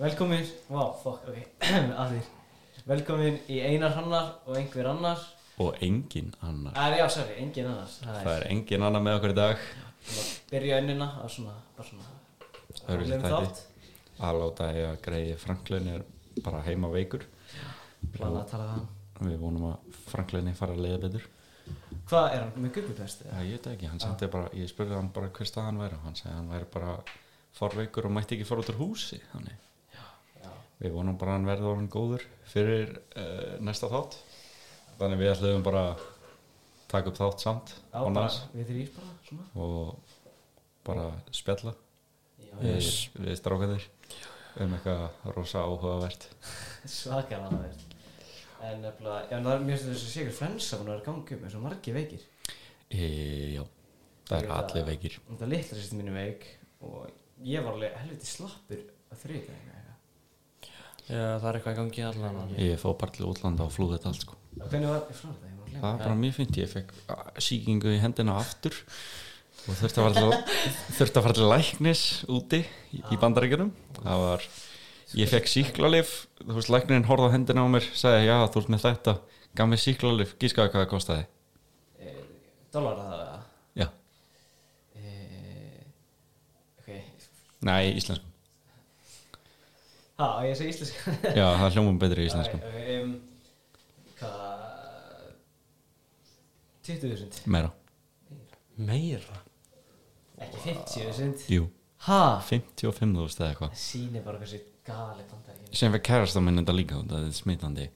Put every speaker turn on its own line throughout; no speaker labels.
Velkomin, wow, fuck, ok, að því Velkomin í einar hannar og einhver annar
og engin annar
Það er já, sorry, engin annars Það
það er engin annar með okkur í dag
svona, byrja önnina á svona, bara svona
Öðruvísi
rólegum
þætti. að láta ég að greiði Franklin er bara heima veikur
plana að tala við hann
við vonum að Franklin fara að leiða betur
Hvað er hann með guggupest?
Já, ég veit það ekki, hann sendi bara, ég spurði hann bara hver stað hann væri og hann segi hann væri bara forveikur og mætti ekki fara út úr húsi þannig,
Já.
við vonum bara að hann verði orðin góður fyrir uh, næsta þátt þannig við ætlum bara að taka upp þátt samt
Já,
án
bara,
hans
við þrýr bara, svona
og bara spjalla
Já,
við, við strákaðir um eitthvað rosa áhugavert
svakar að það er En nefnilega, já, en það er mjög stundið þessi sigur flensa hún er gangið með svo margi veikir
e, Já,
Ég
það eru
veit
allir
að-
veikir
Og Það litla sýstin mínu veik og ég var alveg helviti slappur að þriðja
Já, það er eitthvað í gangi allan að
Ég fór bara til útlanda og flúði þetta allt sko
Hvernig var, ég frá þetta, ég var að glemma
Það var bara mjög fint, ég fekk síkingu í hendina aftur og þurfti að fara til, þurfti að fara til læknis úti í, í bandaríkjunum það var, ég fekk síklarlif þú veist, læknirinn horfði á hendina á mér sagði, já, þú ert með þetta, gaf mér síklarlif gískaði hvað það kostaði
eh, dólar að það eða?
já,
eh, ok
nei, íslenskum,
ha, og ég segi íslensk
já, það hljómum betri í íslenskum,
ok, um, hvað 20.000
meira,
Meira?
ekki 50.000
jú
ha,
55.000 eða eitthvað
sýnir bara hversu gali bandaríkin
sem fyrir kærasta minn þetta líka það er smitandi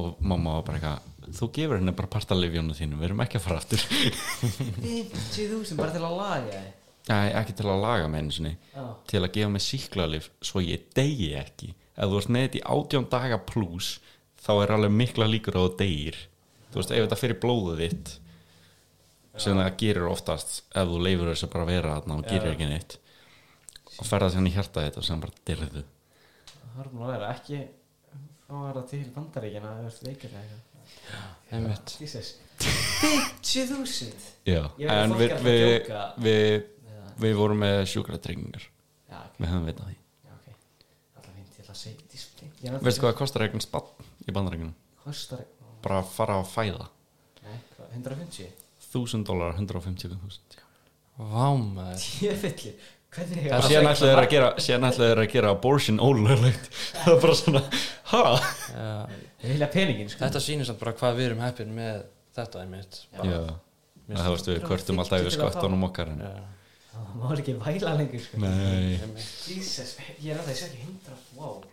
og mamma var bara eitthvað þú gefur henni bara partalifjónu þínum við erum ekki að fara aftur
50.000 bara til að laga þig
Æ, ekki til að laga með einu sinni
Já.
til að gefa mig síklarlif svo ég degi ekki ef þú ert neðið í átjón daga pluss þá er alveg mikla líkur að þú degir þú veist, ef þetta fyrir blóðið þitt sem það gerir oftast ef þú leifur þessu bara að vera þarna og gerir ekki neitt og ferða þannig í hjarta þetta sem bara dyrðu
það er nú að vera ekki þá er það til bandaríkin að það er veikir eða eitthvað
Einmitt.
Jesus 50.000
Já,
Ég veit að
en
fólk
við
er alltaf að
við,
djóka.
við,
eða,
við vorum með sjúkratryggingar
já, ok,
við höfum vitað því
já, ok alltaf fint, ég ætla að segja display Ég er náttúrulega-
Veistu hvað það kostar eignan spann í bandarækjunum?
kostar ó,
Bara að fara að fæða
nei, hvað, 150
1000 dólar, 150 000
Vámaður
Djöfullir, hvernig
Það sé nættilega þeirra að gera sé nættilega þeirra að gera abortion ólöglegt Það er bara svona, ha?
Heila peningin, sko
Þetta sýnir samt bara hvað við erum heppin með þetta einmitt
Já, það hefast við kvörtum alltaf
150 til að
yfir skottunum okkar en
Já,
Það má ekki væla lengur, sko
Nei,
einmitt
Jesus, ég er alltaf, ég sé ekki 100 Wow,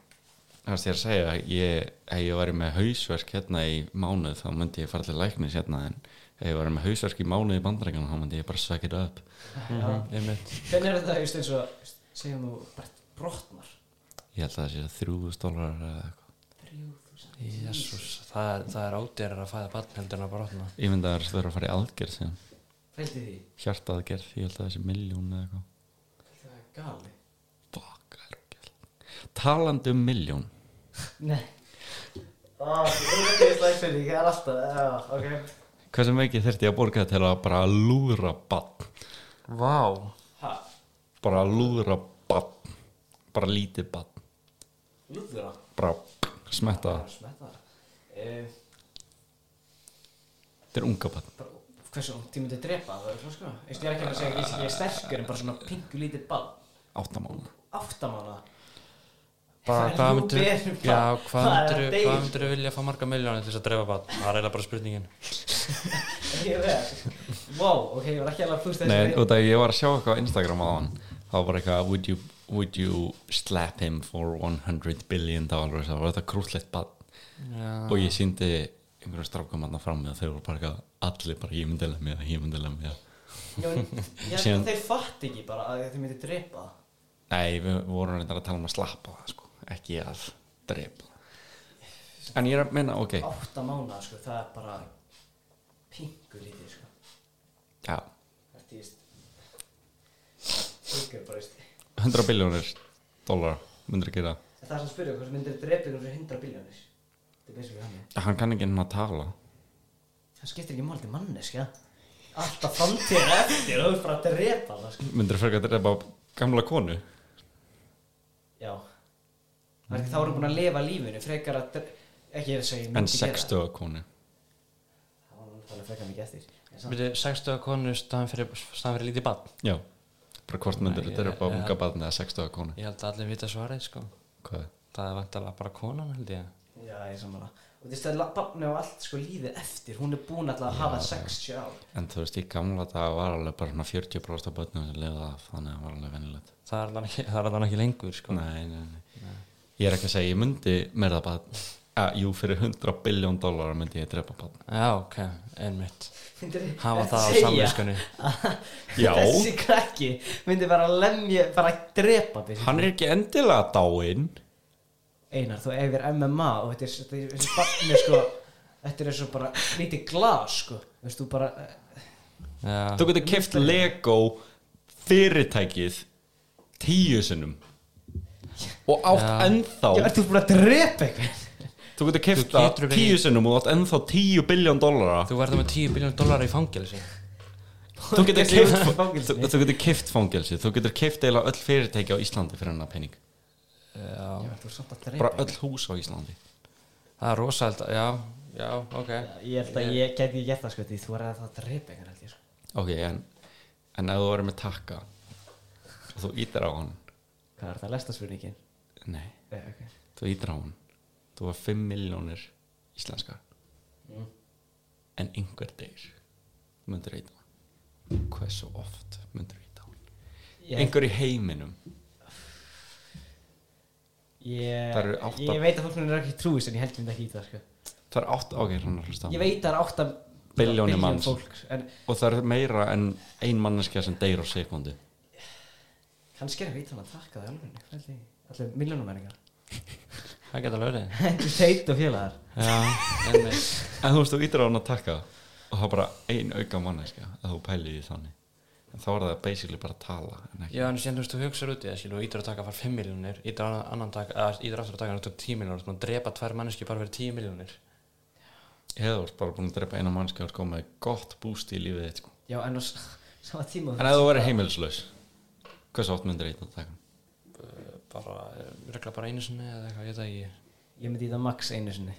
það er þér að segja að ég, ef ég væri með hausverk hérna í mánuð þá myndi ég fara til læknis hérna en ef ég væri með hausverk í mánuð í bandarækjunum þá myndi ég bara suck it up
já
Einmitt
Hvernig er þetta, just eins og just, segjum þú, bara brotnar
Ég held að það sé 3000 dólar eða eitthvað
3000
Jésús, það, er- það er ádýrar að fæða barn heldur en að brotna
Ég myndi að það er stöður að fara í aðgerð síðan
Fældi því,
Hjartaðgerð, ég held að það sé miljón eða eitthvað
það er gali
Fuck, það er ekki Talandi um miljón
Nei Ó, Ah, þú veist lækfinni, ég er alltaf, já, ok
Hversu mikið þurfti ég að borga til að bara lúðra bann
Vá
Ha,
bara lúðra bann bara lítið bann
lúður á
bara smetta það.
Smetta það
þetta er unga bann
bara, hversu langt ég myndi að drepa það verður svona sko Veistu, ég er ekki að segja að ég er sterkur en bara svona pingu lítið ball
áttamána
áttamána
Bara, hvað myndir, já, hvað myndir, hvað
hvað
myndir vilja að fá marga miljónir til þess að drefa barn? Það er eiginlega bara spurningin.
myndir wow, ok, ég var ekki alveg að fúst
Nei,
þessu
út af ég var að sjá eitthvað á Instagram á hann það var bara eitthvað would you, would you slap him for 100 billion dollars það var þetta krúllett bann
Já,
og ég síndi einhverjum strákum hann fram með að þeir voru bara eitthvað allir bara ég myndi lemja mig það, ég myndi lemja mig það.
Já, en ég held
Síðan-
að þeir fatt ekki bara að þeir myndi drepa það.
Nei, við vorum reyndar að tala um að slappa það sko, ekki að drepa En ég er að minna, ok
átta mánaða sko, það er bara pingu lítið sko
Já,
þetta ég veist pingu er bara, veist
100 biljónir dólar myndir að gera
En það er sem spyrja, hversu myndir drepa ykkur fyrir 100 biljónir þetta er basically hann
Hann kann ekki enn að tala
Það skiptir ekki mál til manneskja Alltaf framtíðar eftir og þú er bara að drepa það sko.
Myndir að frekar að drepa gamla konu
Já Það er ekki þá erum búin að lifa lífinu frekar að dre- ekki að segja ég myndi
en
gera.
60 konu
Það var náttúrulega frekar mikið eftir En samt-
Byrju, 60 konu staðan fyrir, staðan fyrir lítið barn
já, bara hvort myndir
Nei,
þetta er upp á
ja.
unga barni eða 60 konu
Ég held að allir vita svarið sko
hvað er
Það er vantalega bara konan held ég
Já, ég er samanlega Og þú veist að barni á allt sko lífið eftir Hún er búin alltaf að hafa 60 ár
En þú veist, í gamla dag var alveg bara svona 40% af börnum sem lefði af, þannig að það var alveg vennilegt.
Það er allan ekki, það er allan ekki lengur sko
Nei, nei, nei, Ég er ekki að segja, ég myndi mér það bara, að, jú, fyrir 100 biljón dólar myndi ég drepa bara.
Já, ok, einmitt
Þetta
Hafa það á
segja
samviskunni
Já.
Þessi krakki myndi bara lemja, bara drepa þig
Hann er ekki endilega dáinn.
Einar, þú efir MMA og þetta er þetta er- þessi barni sko Þetta er eins og bara lítið glas sko Þú veist, þú bara
Já,
Þú getur keft Lego fyrirtækið tíu sinnum og átt
Já.
ennþá,
Já, ert þú búin að drepa eitthvað?
þú getur keft
Þú
það
getur ekki-
tíu sinnum og átt ennþá tíu biljón dólara.
þú verður með 10 biljón dólar í fangelsi
Þú getur keft
fangelsi.
þú- þú getur keft fangelsi, þú getur keft eila öll fyrirtæki á Íslandi fyrir hennar penning.
Já,
Já, þú er samt að drepa
bara öll hús á Íslandi
það er rosald, já, já, ok
Ég held að ég geti ekki gert það sko Því þú er að það drepa eitthvað held ég sko
ok, en, en ef þú verður með takka og þú ítir á hann
Hvað er það, lesta spurningin?
nei,
Eh, ok.
þú ítir á hann þú var 5 miljónir íslenska
Mm.
en einhver deyr þú myndir íta á hann hversu oft myndir íta á hann
Ég-
einhver í heiminum
Ég,
Það eru átta-
ég veit að fólk munir ekki trúi sem ég held myndi ekki í það sko.
það er 8, ok, hérna, hann er hlusta á
Ég
mig.
veit að það er 8
Billjónir manns.
fólk En
og það er meira en ein manneskja sem deyr á sekundu
kannski er ég veit hann að taka það alveg Allir milljónumæringar
Það geta lögrið
Andrew Tate og félagar
Já, einmitt
en þú veist, þú ítir á hann að takka og það er bara ein auka manneskja að þú pæli því þannig en þá er það basically bara að tala en ekki
Já, en síðan þú veist, þú hugsar út í þessu og ítur að taka fara 5 miljónir, ítur annan, annan taka, eða ítur aftur að taka náttúrulega 10 miljónir, þú ert búinn að drepa tvær manneski bara fyrir 10 miljónir.
eða þú ert bara búin að drepa eina mannskja og sko með gott búst í lífið þitt sko.
Já, en á s- sama tíma
en ef þú verður heimilislaus hversu oft myndir eitthvað taka hann?
Bara, eh, regla bara einu sinni eða eitthvað, ég veit það ekki.
Ég myndi í það max einu sinni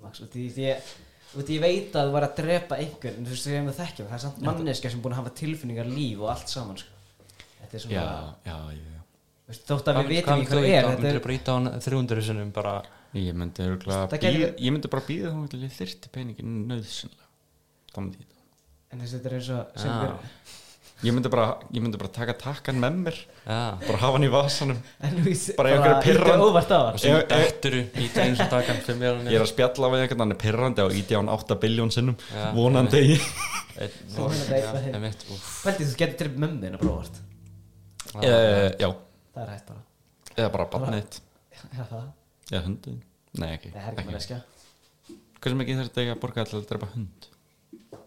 Max, og því, því ég Og því ég veit að þú var að drepa einhvern en Þú veist, þegar ég með þekkja það, það er samt manneskja sem búin að hafa tilfinningar líf og allt saman sko. Þetta er
já,
svona,
já, já,
veist, þótt að við
Hvað
vitum
myndir
ekki hvað
þú
það
íta
er
á?
Þetta
Myndir
er
þú bara íta á hann 300 sinnum bara,
já ég myndi örgulega
Það gæti
býð,
verið-
ég myndi bara býða þá til ég þyrti peningin nöðsynlega þá myndi ég það
En þess að þetta er eins og sem
Já.
við-
ég myndi bara, ég myndi bara taka takkan með mér
já,
bara hafa hann í vasanum
En þú veist,
Bara einhverju pirrandi-
Þetta óvart á
og
hann
svo
Ég- ég-
dætturu, íta einu sinni taka hann 5
ég er
miljónir.
að spjalla við einhvern hann er pirrandi og íti á hann 8 biljón sinnum
Já.
vonandi
Einn-
Þú myndir
já,
drepa þig.
einmitt, úff.
Fældi þú getur til mömmin að prófa allt
Eh, já,
Það er hægt bara
eða bara barnið
Já, það
eða hundin nei, ekki,
Nei, það er ekki
ekki.
manneskja
hversu mikið þarf þetta að borga til að drepa hund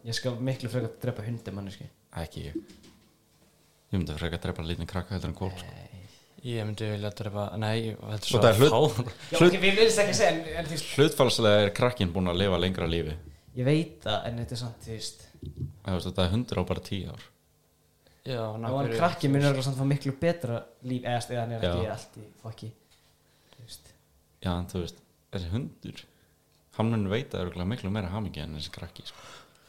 Ég skal miklu frekar drepa hundi manneski
ekki ég ég myndi frekar að drepa lítinn krakka heldur en kól sko.
Ég myndi vilja drepa, nei, ég- þetta er
Og það er hlut-
fár-
Já, ok, við viljum ekki að segja en, en þú veist
hlutfalslega er krakkin búin að lifa lengra lífi
Ég veit það, en þetta er samt, þú veist
Það veist, þetta er hundur á bara tíu ár
Já, ná,
Og hann
fyrir-
krakki minn er samt fá miklu betra líf eða eða hann er ekki
Já.
allt í fokki Þú veist
já en þú veist þessi hundur hann mun veita örgulega miklu meira hamingi en þessi krakki sko.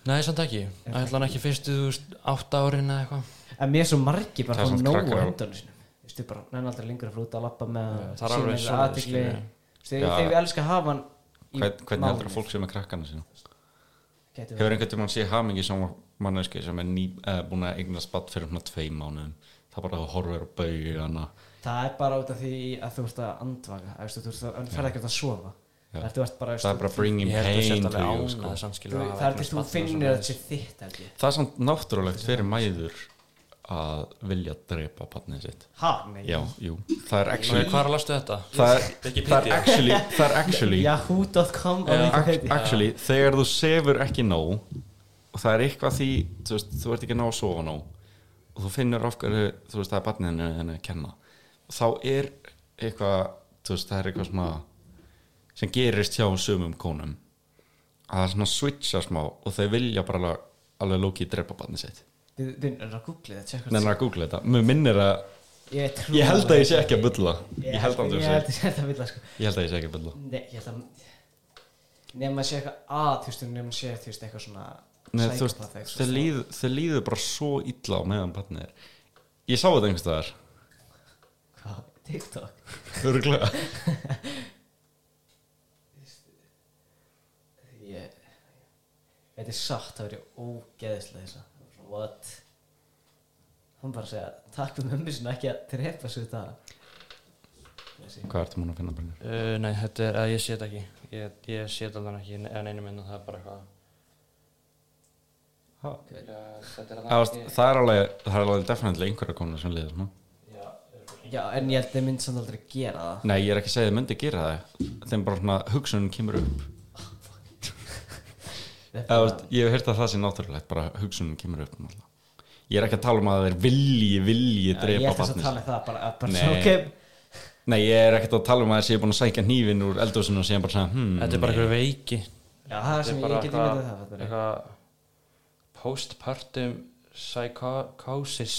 Nei, samt ekki, ætlan ekki fyrstu, þú veist, 8 árin eða eitthvað.
En mér er svo margi
Það
bara
er
fá
samt
nóg
krakkar-
á hundunum sínum Þú veist, þau bara nenn aldrei lengur að flúta að lappa með hann, sýna
það er alveg
þessu
svoleiðis,
athygli.
skilurðu.
Þú veist, Þegar
Já.
þegar við elska hafa hann í
Hvern, hvernig heldur
mánuð,
að fólk sem er krakkana sína
gæti
hefur
verið.
einhvern veginn sé hamingi sem manneski sem er ný, eh, búin að eigna spatt fyrir svona tvei mánuðum það er bara að þú horfir á baugu hana
Það er bara út af því að þú ert að andvaka Þú veist, þú ert að- en ferð ekkert að sofa
Já.
Það ert bara
það er bara bringing
Ég held að
pain
sérst
to
alveg
you
ánað
sko.
samt skilur
Þú,
að hafa
það er
eignast
til þú
barn og
finnir
svoleiðis.
að þetta sé þitt held ég
það er samt náttúrulegt fyrir mæður að vilja drepa barnið sitt
Ha? Nei
já, jú, það er actually
Nei, Hvar lastu þetta?
það er,
Wikipedia.
það er actually, það er actually,
Yahoo.com á
Já.
ac-
Wikipedia.
actually þegar þú sefur ekki nóg og það er eitthvað því þú, veist, þú ert ekki að ná að sofa nóg og þú finnur af hverju, þú veist, það er barninu henni að kenna þá er eitthvað, þú veist, það er eitthvað smá sem gerist hjá sumum konum að það er svona switcha smá og þau vilja bara alveg, alveg lókið drepa barnið sitt
Við við erum að googla þetta, tjekka
Nei,
þetta
að googla þetta, mér minnir að
Ég, trúi
Ég held að ég sé
þessu.
ekki að bulla Ég held að þú
Ég held
sé
að ég sé að vilja sko
Ég held að ég sé ekki að bulla
Nei, ég held að Nefn að sé eitthvað að, þú veist, nefn að sé, þú veist, eitthvað svona
Nei, þú veist,
psychopath, eitthvað
þau
svona.
líður, þau líður bara svo illa á meðan barnið er Ég sá þetta einhvers staðar
Hvað, TikTok?
Örgulega
Ég Þetta er satt, það verið ógeðislega þess að What? Hann bara að segja, takk fyrir mömmu sinna ekki að trepa sig þetta Þessi
Hvað ertu múin að finna barnið?
Uh, nei, þetta er að ég sé þetta ekki. Ég, ég sé þetta alveg ekki, en einu minn það er bara eitthvað.
Ha?
Hver?
Þetta er
Það, varst- það er alveg, það er alveg definitely einhverja komin sem liður svona.
Já,
Já, en ég held að ég myndi samt aldrei gera það
Nei, ég er ekki að segja þið myndi gera það Þeim bara svona hugsunin kemur upp
Þetta
Eða,
er
þú veist, Ég hef heyrt að það sé náttúrulegt bara hugsunin kemur upp náttúrulega. Ég er ekki að tala um að þeir vilji, vilji
bara- Ég
drepa
held þess að
barnið
tala um það bara, að bara
Nei.
svo, ok,
Nei, ég er ekkert að tala um að þessi ég er búin að sækja hnífin úr eldhúsinu og síðan bara svona hmm,
þetta er bara eitthvað veiki.
Já, það er
Þetta
sem
bara
ég geti
eitthvað-
myndið það fattar við.
Eitthvað postpartum psychosis.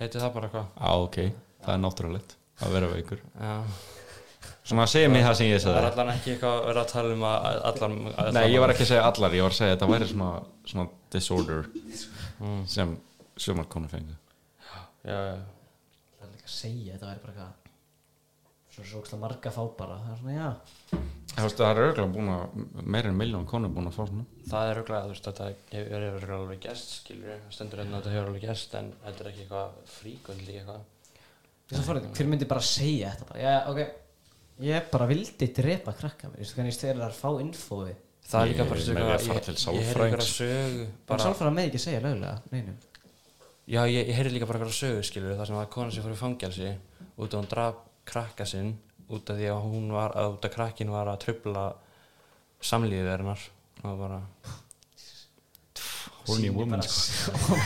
Heitir það bara eitthvað.
Á, ok, það er náttúrulegt að vera veikur
Já.
Svona segja mig það sem ég
Það er
sagði
allan ekki eitthvað að vera að tala um að um- allan...
Nei, ég var ekki að segja allar, ég var að segja að þetta væri svona, svona disorder sem sumar konu fengu
Mm. Já, já.
Það er líka að segja, þetta væri bara eitthvað Svo sjókslega marga fá bara, það er svona, já
Það veist, það er örgulega búin að meira en miljón konur búin að fá svona
Það er auðvitað, þú veist, þetta hefur hefur alveg gæst, skilur ég, stendur hérna að þetta hefur alveg gæst, en þetta er ekki eitthvað fríkvöldli eitthvað.
Ég svo fórið, hver myndi bara segja þetta bara, já, ok Ég bara vildi drepa krakka mér, veistu hvernig ég þegar það er að fá infói
Það er líka
Ég
bara
er með því að fara
ég-
til
ég heyrði
sálfræðings.
eitthvað sögu,
Bara
bara,
sálfara með ekki segja lögulega, neinum
já, ég, ég heyrði líka bara eitthvað sögu, skilur það sem að kona sem fór í fangelsi, út af hún draf krakka sinn, út af því að hún var, að út af krakkin var að tröfla samlífið verðinar, og það bara,
Horny
Sýnir
woman, sko.
bara-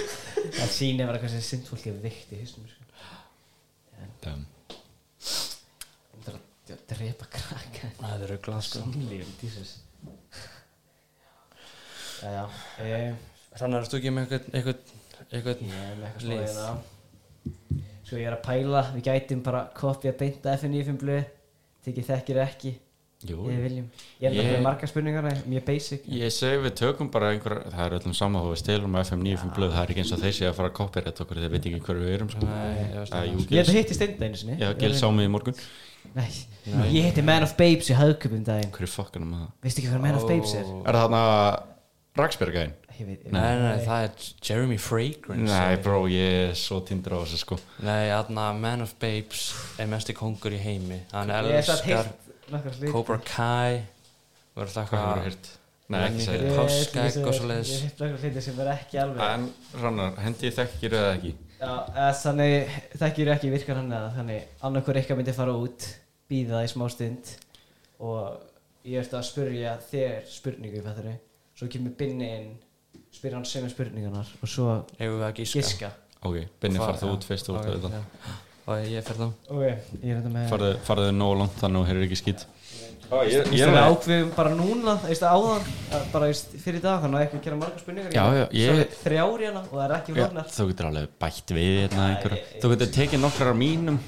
Það sýnir bara hvað sem sindfólk er veikt í hysnum, sko
Damn.
Það er að- að drepa krakka
það er auðvitað, sko.
Samlífum, Jesus Já, já, eh,
Þannig ertu ekki með eitthvað, eitthvað, eitthvað,
ég er með eitthvað smá
Lið.
hérna Sko, ég er að pæla, við gætum bara kopja beinta FNF-um blöð Tekið þekkir ekki,
Jú,
við viljum Ég er
Ég-
með marga spurningar, það er mjög basic
Ég segi við tökum bara einhver það er öllum sama þú veist til um FM 95 blöð það er ekki eins og þeir sé að fara að copyright okkur þeir veit ekki hverju við erum sko.
nei, ég veist
Æ, jú,
Ég
Gils,
hefði hitti Steinda einu sinni
já, Gils sá mig í morgun
Nei, ég hitti Man of Babes í haugköpum daginn
Hverju fokkanum að um það?
Veistu ekki hvað Man of Babes er?
Er það þarna Ragsbjörgæðin?
Ég veit,
Nei, nei, nei, það er Jeremy Fragrance
Nei, bró, ég er svo tindur á þessu sko
Nei, aðna Man of Babes er mesti kongur í heimi Hann
Ég hef satt
elskar
heilt nokkar slík
Cobra Kai Verður það
Hvað hefur
eitthvað
hýrt? Nei, ekki
Nei,
segja
nei. páskaegg og svoleiðis.
Ég hitt nokkar hluti sem er ekki
það
alveg
En Rannar, hendi þekkir eða ekki?
Já, eða þannig, þekkir ekki virkar hann eða þannig annarkur ykkar myndi fara út býða í smá stund og ég ætti að spurja þér spurningu fættari svo kemur Binni inn spyr hann sem er spurningunar og svo
Eigum við að gíska
giska
Ok, Binni,
Hva-
farð þú
já,
út fyrst og út
ok,
að þetta
já. Og ég fer þá
Ok, ég er þetta með
Farðu- Farðu nóg langt þannig og heyrir ekki skýt
Ég er alveg ákveðum bara núna, þú veist, áðan, að bara þú veist, fyrir í dag, þannig að ekki að gera margar spurningar.
Já, já, ég-
Svo er þrjár í hana og það er ekki
Já,
flóknar.
þú getur alveg bætt við hérna
Nei,
einhverja.
ég-
Þú getur tekið nokkrar af mínum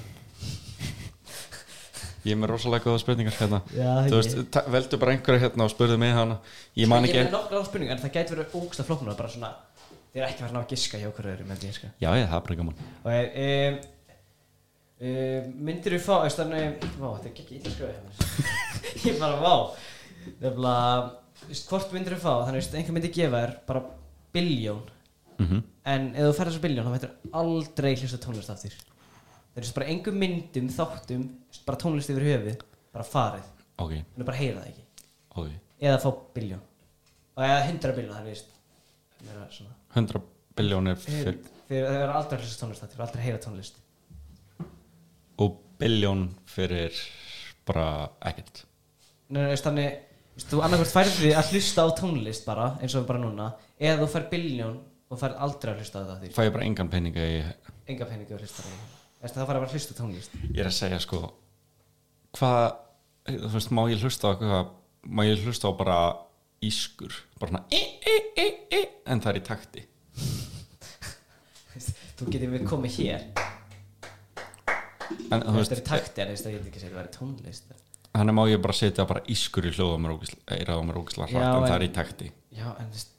Ég er með rosalega góða spurningar hérna
Já,
Þú veist, ta- veldu bara einhverja hérna og spurðu mig hana Ég man
Ég
ekki
er með nokkrar spurningar, en það gæti verið ógsta flóknar, bara svona, þið er ekki verið að ná að giska hjá hverju öðru, með því, sko.
Já, ég, það er bara gaman
Og er, um, um, myndir þú fá, þú veist, þannig, vá, þetta gekk ítla skröðið hérna. ég bara, vá, nefnilega, þú veist, hvort myndir þú fá, þannig, þú veist, einhver myndi gefa þér bara biljón,
mm
En ef þú ferð þessa biljón þá hættir aldrei hlusta á tónlist aftur Það er bara engum myndum, þáttum bara tónlist yfir höfuð, bara farið
Ok,
en þú bara heyra það ekki
ok
eða fá biljón og eða hundra biljón, það er víst meira svona
100 biljónir fyrir
Þegar það er aldrei að hlusta á tónlist aftur, aldrei að heyra tónlist
Og biljón fyrir bara ekkert
Nei, nei, veist, þannig, veist, þú annarkvært færði að hlusta á tónlist bara, eins og bara núna eða þú færð biljón og færð aldrei að hlusta á það aftur
Fæ ég bara engan peninga í
enga peningi að hlusta á það Veist, það fara bara að hlusta á tónlist
Ég er að segja sko Hvað, þú veist, má ég hlusta á hvað, Má ég hlusta á bara ískur Bara svona í, í, í, í, En það er í takti
Þú getur við komið hér
en þú
Þetta
veist
er takti, en ég veit ekki að þetta væri tónlist
hann má ég bara setja bara ískur í hljóða mér ógislega
Já,
hratt en það er
en-
í takti
Já, en þú veist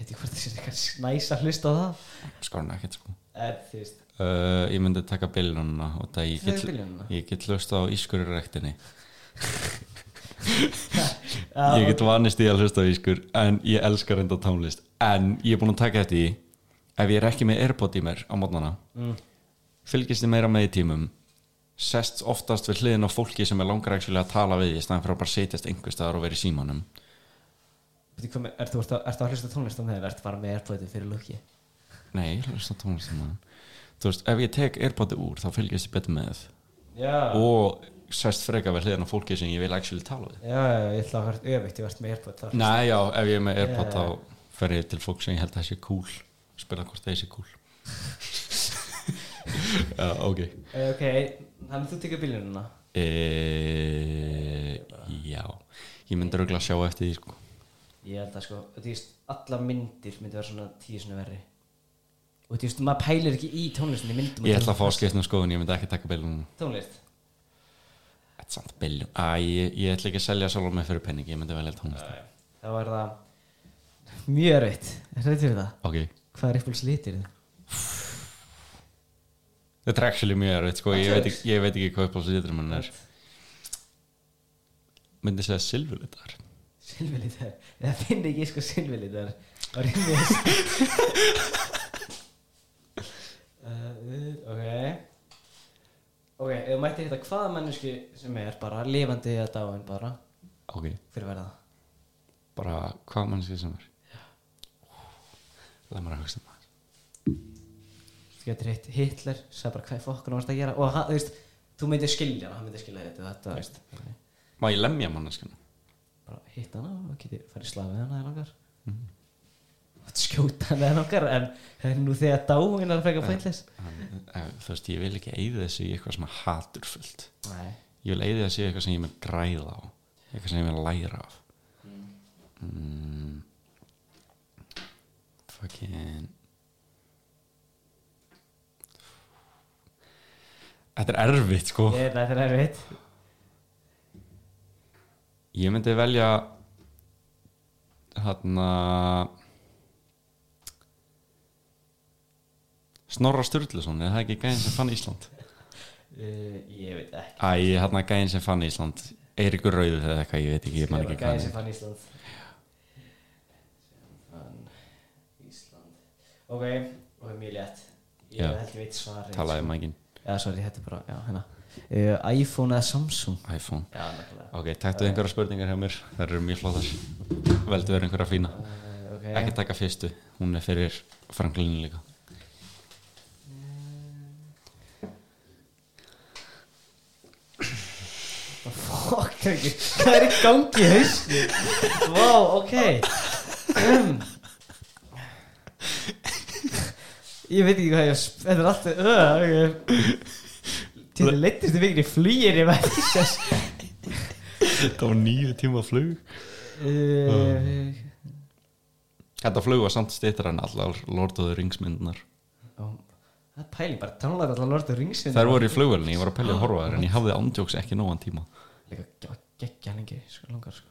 Veit ekki hvort það sé eitthvað næs að hlusta á það
skorna ekkert sko
En þú veist,
uh, ég myndi taka billununa og það ég
það er
get,
biljununa
ég get hlusta á ískur í rektinni ég get vanist í að hlusta á ískur en ég elskar enda tónlist en ég er búin að taka þetta í ef ég er ekki með airbot í mér á mótnana
Mm.
fylgist þið meira með í tímum sest oftast við hliðin á fólki sem er langar ekki að tala við í staðan fyrir að bara setjast einhver staðar og vera í símanum
Veitir hvað með- Ertu ertu að ertu að hlusta á tónlist á þegar Ertu bara með airpointu fyrir lukki
nei, ég hlusta á tónlist um þú veist, ef ég tek airboti úr þá fylgist ég betur með
Já
og sest frekar við hliðin á fólki sem ég vil ekki tala við
Já, já, já, ég ætla að vera öfitt, ég vart með airpoint þar
Nei, já, ef ég er með AirPod
Yeah.
þá fer ég til fólk sem ég held að það sé cool spila hvort það sé cool Já, ok
Eh, Ok, þannig þú tekur bílununa
e, Já Ég myndi rauglega að sjá eftir því sko.
Ég held að sko, þú veist, alla myndir myndi vera svona tíu sinni verri Og þú veist, maður pælir ekki í tónlistinni myndum
Ég ætla að fá að skipta um skoðun, ég myndi ekki taka biljón
Tónlist
Þetta er samt biljón Æ, ég, ég ætla ekki að selja sjálfur mig fyrir penning, ég myndi velja tónlist
Þá er það mjög reitt, reitt fyrir það
Ok,
Hvað er uppbúls litir þið?
þetta er actually mjög erfitt sko. ég,
Þetta er-
veit ekki, ég veit ekki hvað upp á sýttur mann er Myndi segja silfurlitar
Silvilitar, það finn ekki sko silvilitar á rímis uh, Ok Ok, ef þú mætti hitta hvaða manneski sem er bara lifandi að dáin bara
Ok,
Hver verða það?
bara hvað mannski sem er Það er maður að hugsa um það
Þú getur hitt Hitler, sagði bara hvað fokkun varst að gera og hann, þú veist, þú myndir skilja hana, hann myndir skilja þetta, þetta, þú veist
Má ég lemja manneskinu?
bara hitt hana og getur farið í slag við hana eða langar
Mhm.
mm. skjóta hana eða langar en, en nú þegar dáin er að fækka fætlis
Hann- eh, Þú veist, ég vil ekki eyða þessu í eitthvað sem er haturfullt
Nei,
Ég vil eyða þessu í eitthvað sem ég vil græða á Eitthvað sem ég vil læra af mm. Fucking Þetta er erfitt, sko
ég, þetta er erfitt
Ég myndi velja Þarna Snorra Sturluson eða það er ekki gæðin sem fann Ísland
Uh, ég veit ekki
Æ, hann að gæðin sem fann Ísland Eirikur Rauður eða eitthvað, ég veit ekki, ég man ekki
gæði
hvað
sem
hann er.
fann Ísland fann Ísland ok, og það er mjög létt ég
Já.
held ég veit svarið
Talaði um ekki
já, sorry, þetta er bara, já, hérna uh, iPhone eða Samsung
iPhone
já, nákvæmlega
Ok, taktu einhverja spurningar hjá mér Það eru mjög flottar Veldu verið einhverja fína
uh, ok,
Ekki taka fyrstu, hún er fyrir Franklinu líka
fokk ekki hvað er í gangi í hausni vá, ok um. ég veit ekki hvað ég á sp- þetta er alltaf uh, okay. til leittist þið vikir í flýir ég veit ekki sér
Þetta var nýju tíma flug Mm.
Uh,
Þetta flug var samt stýttar en allar Lord of the Rings myndnar
það er pæling bara tónlega allar lortu ringsvinn
Þær voru í flugvelni, ég var að pelja að horfa þær En ég hafði ándjóks ekki nógan tíma
líka geggja lengi sko, langar sko.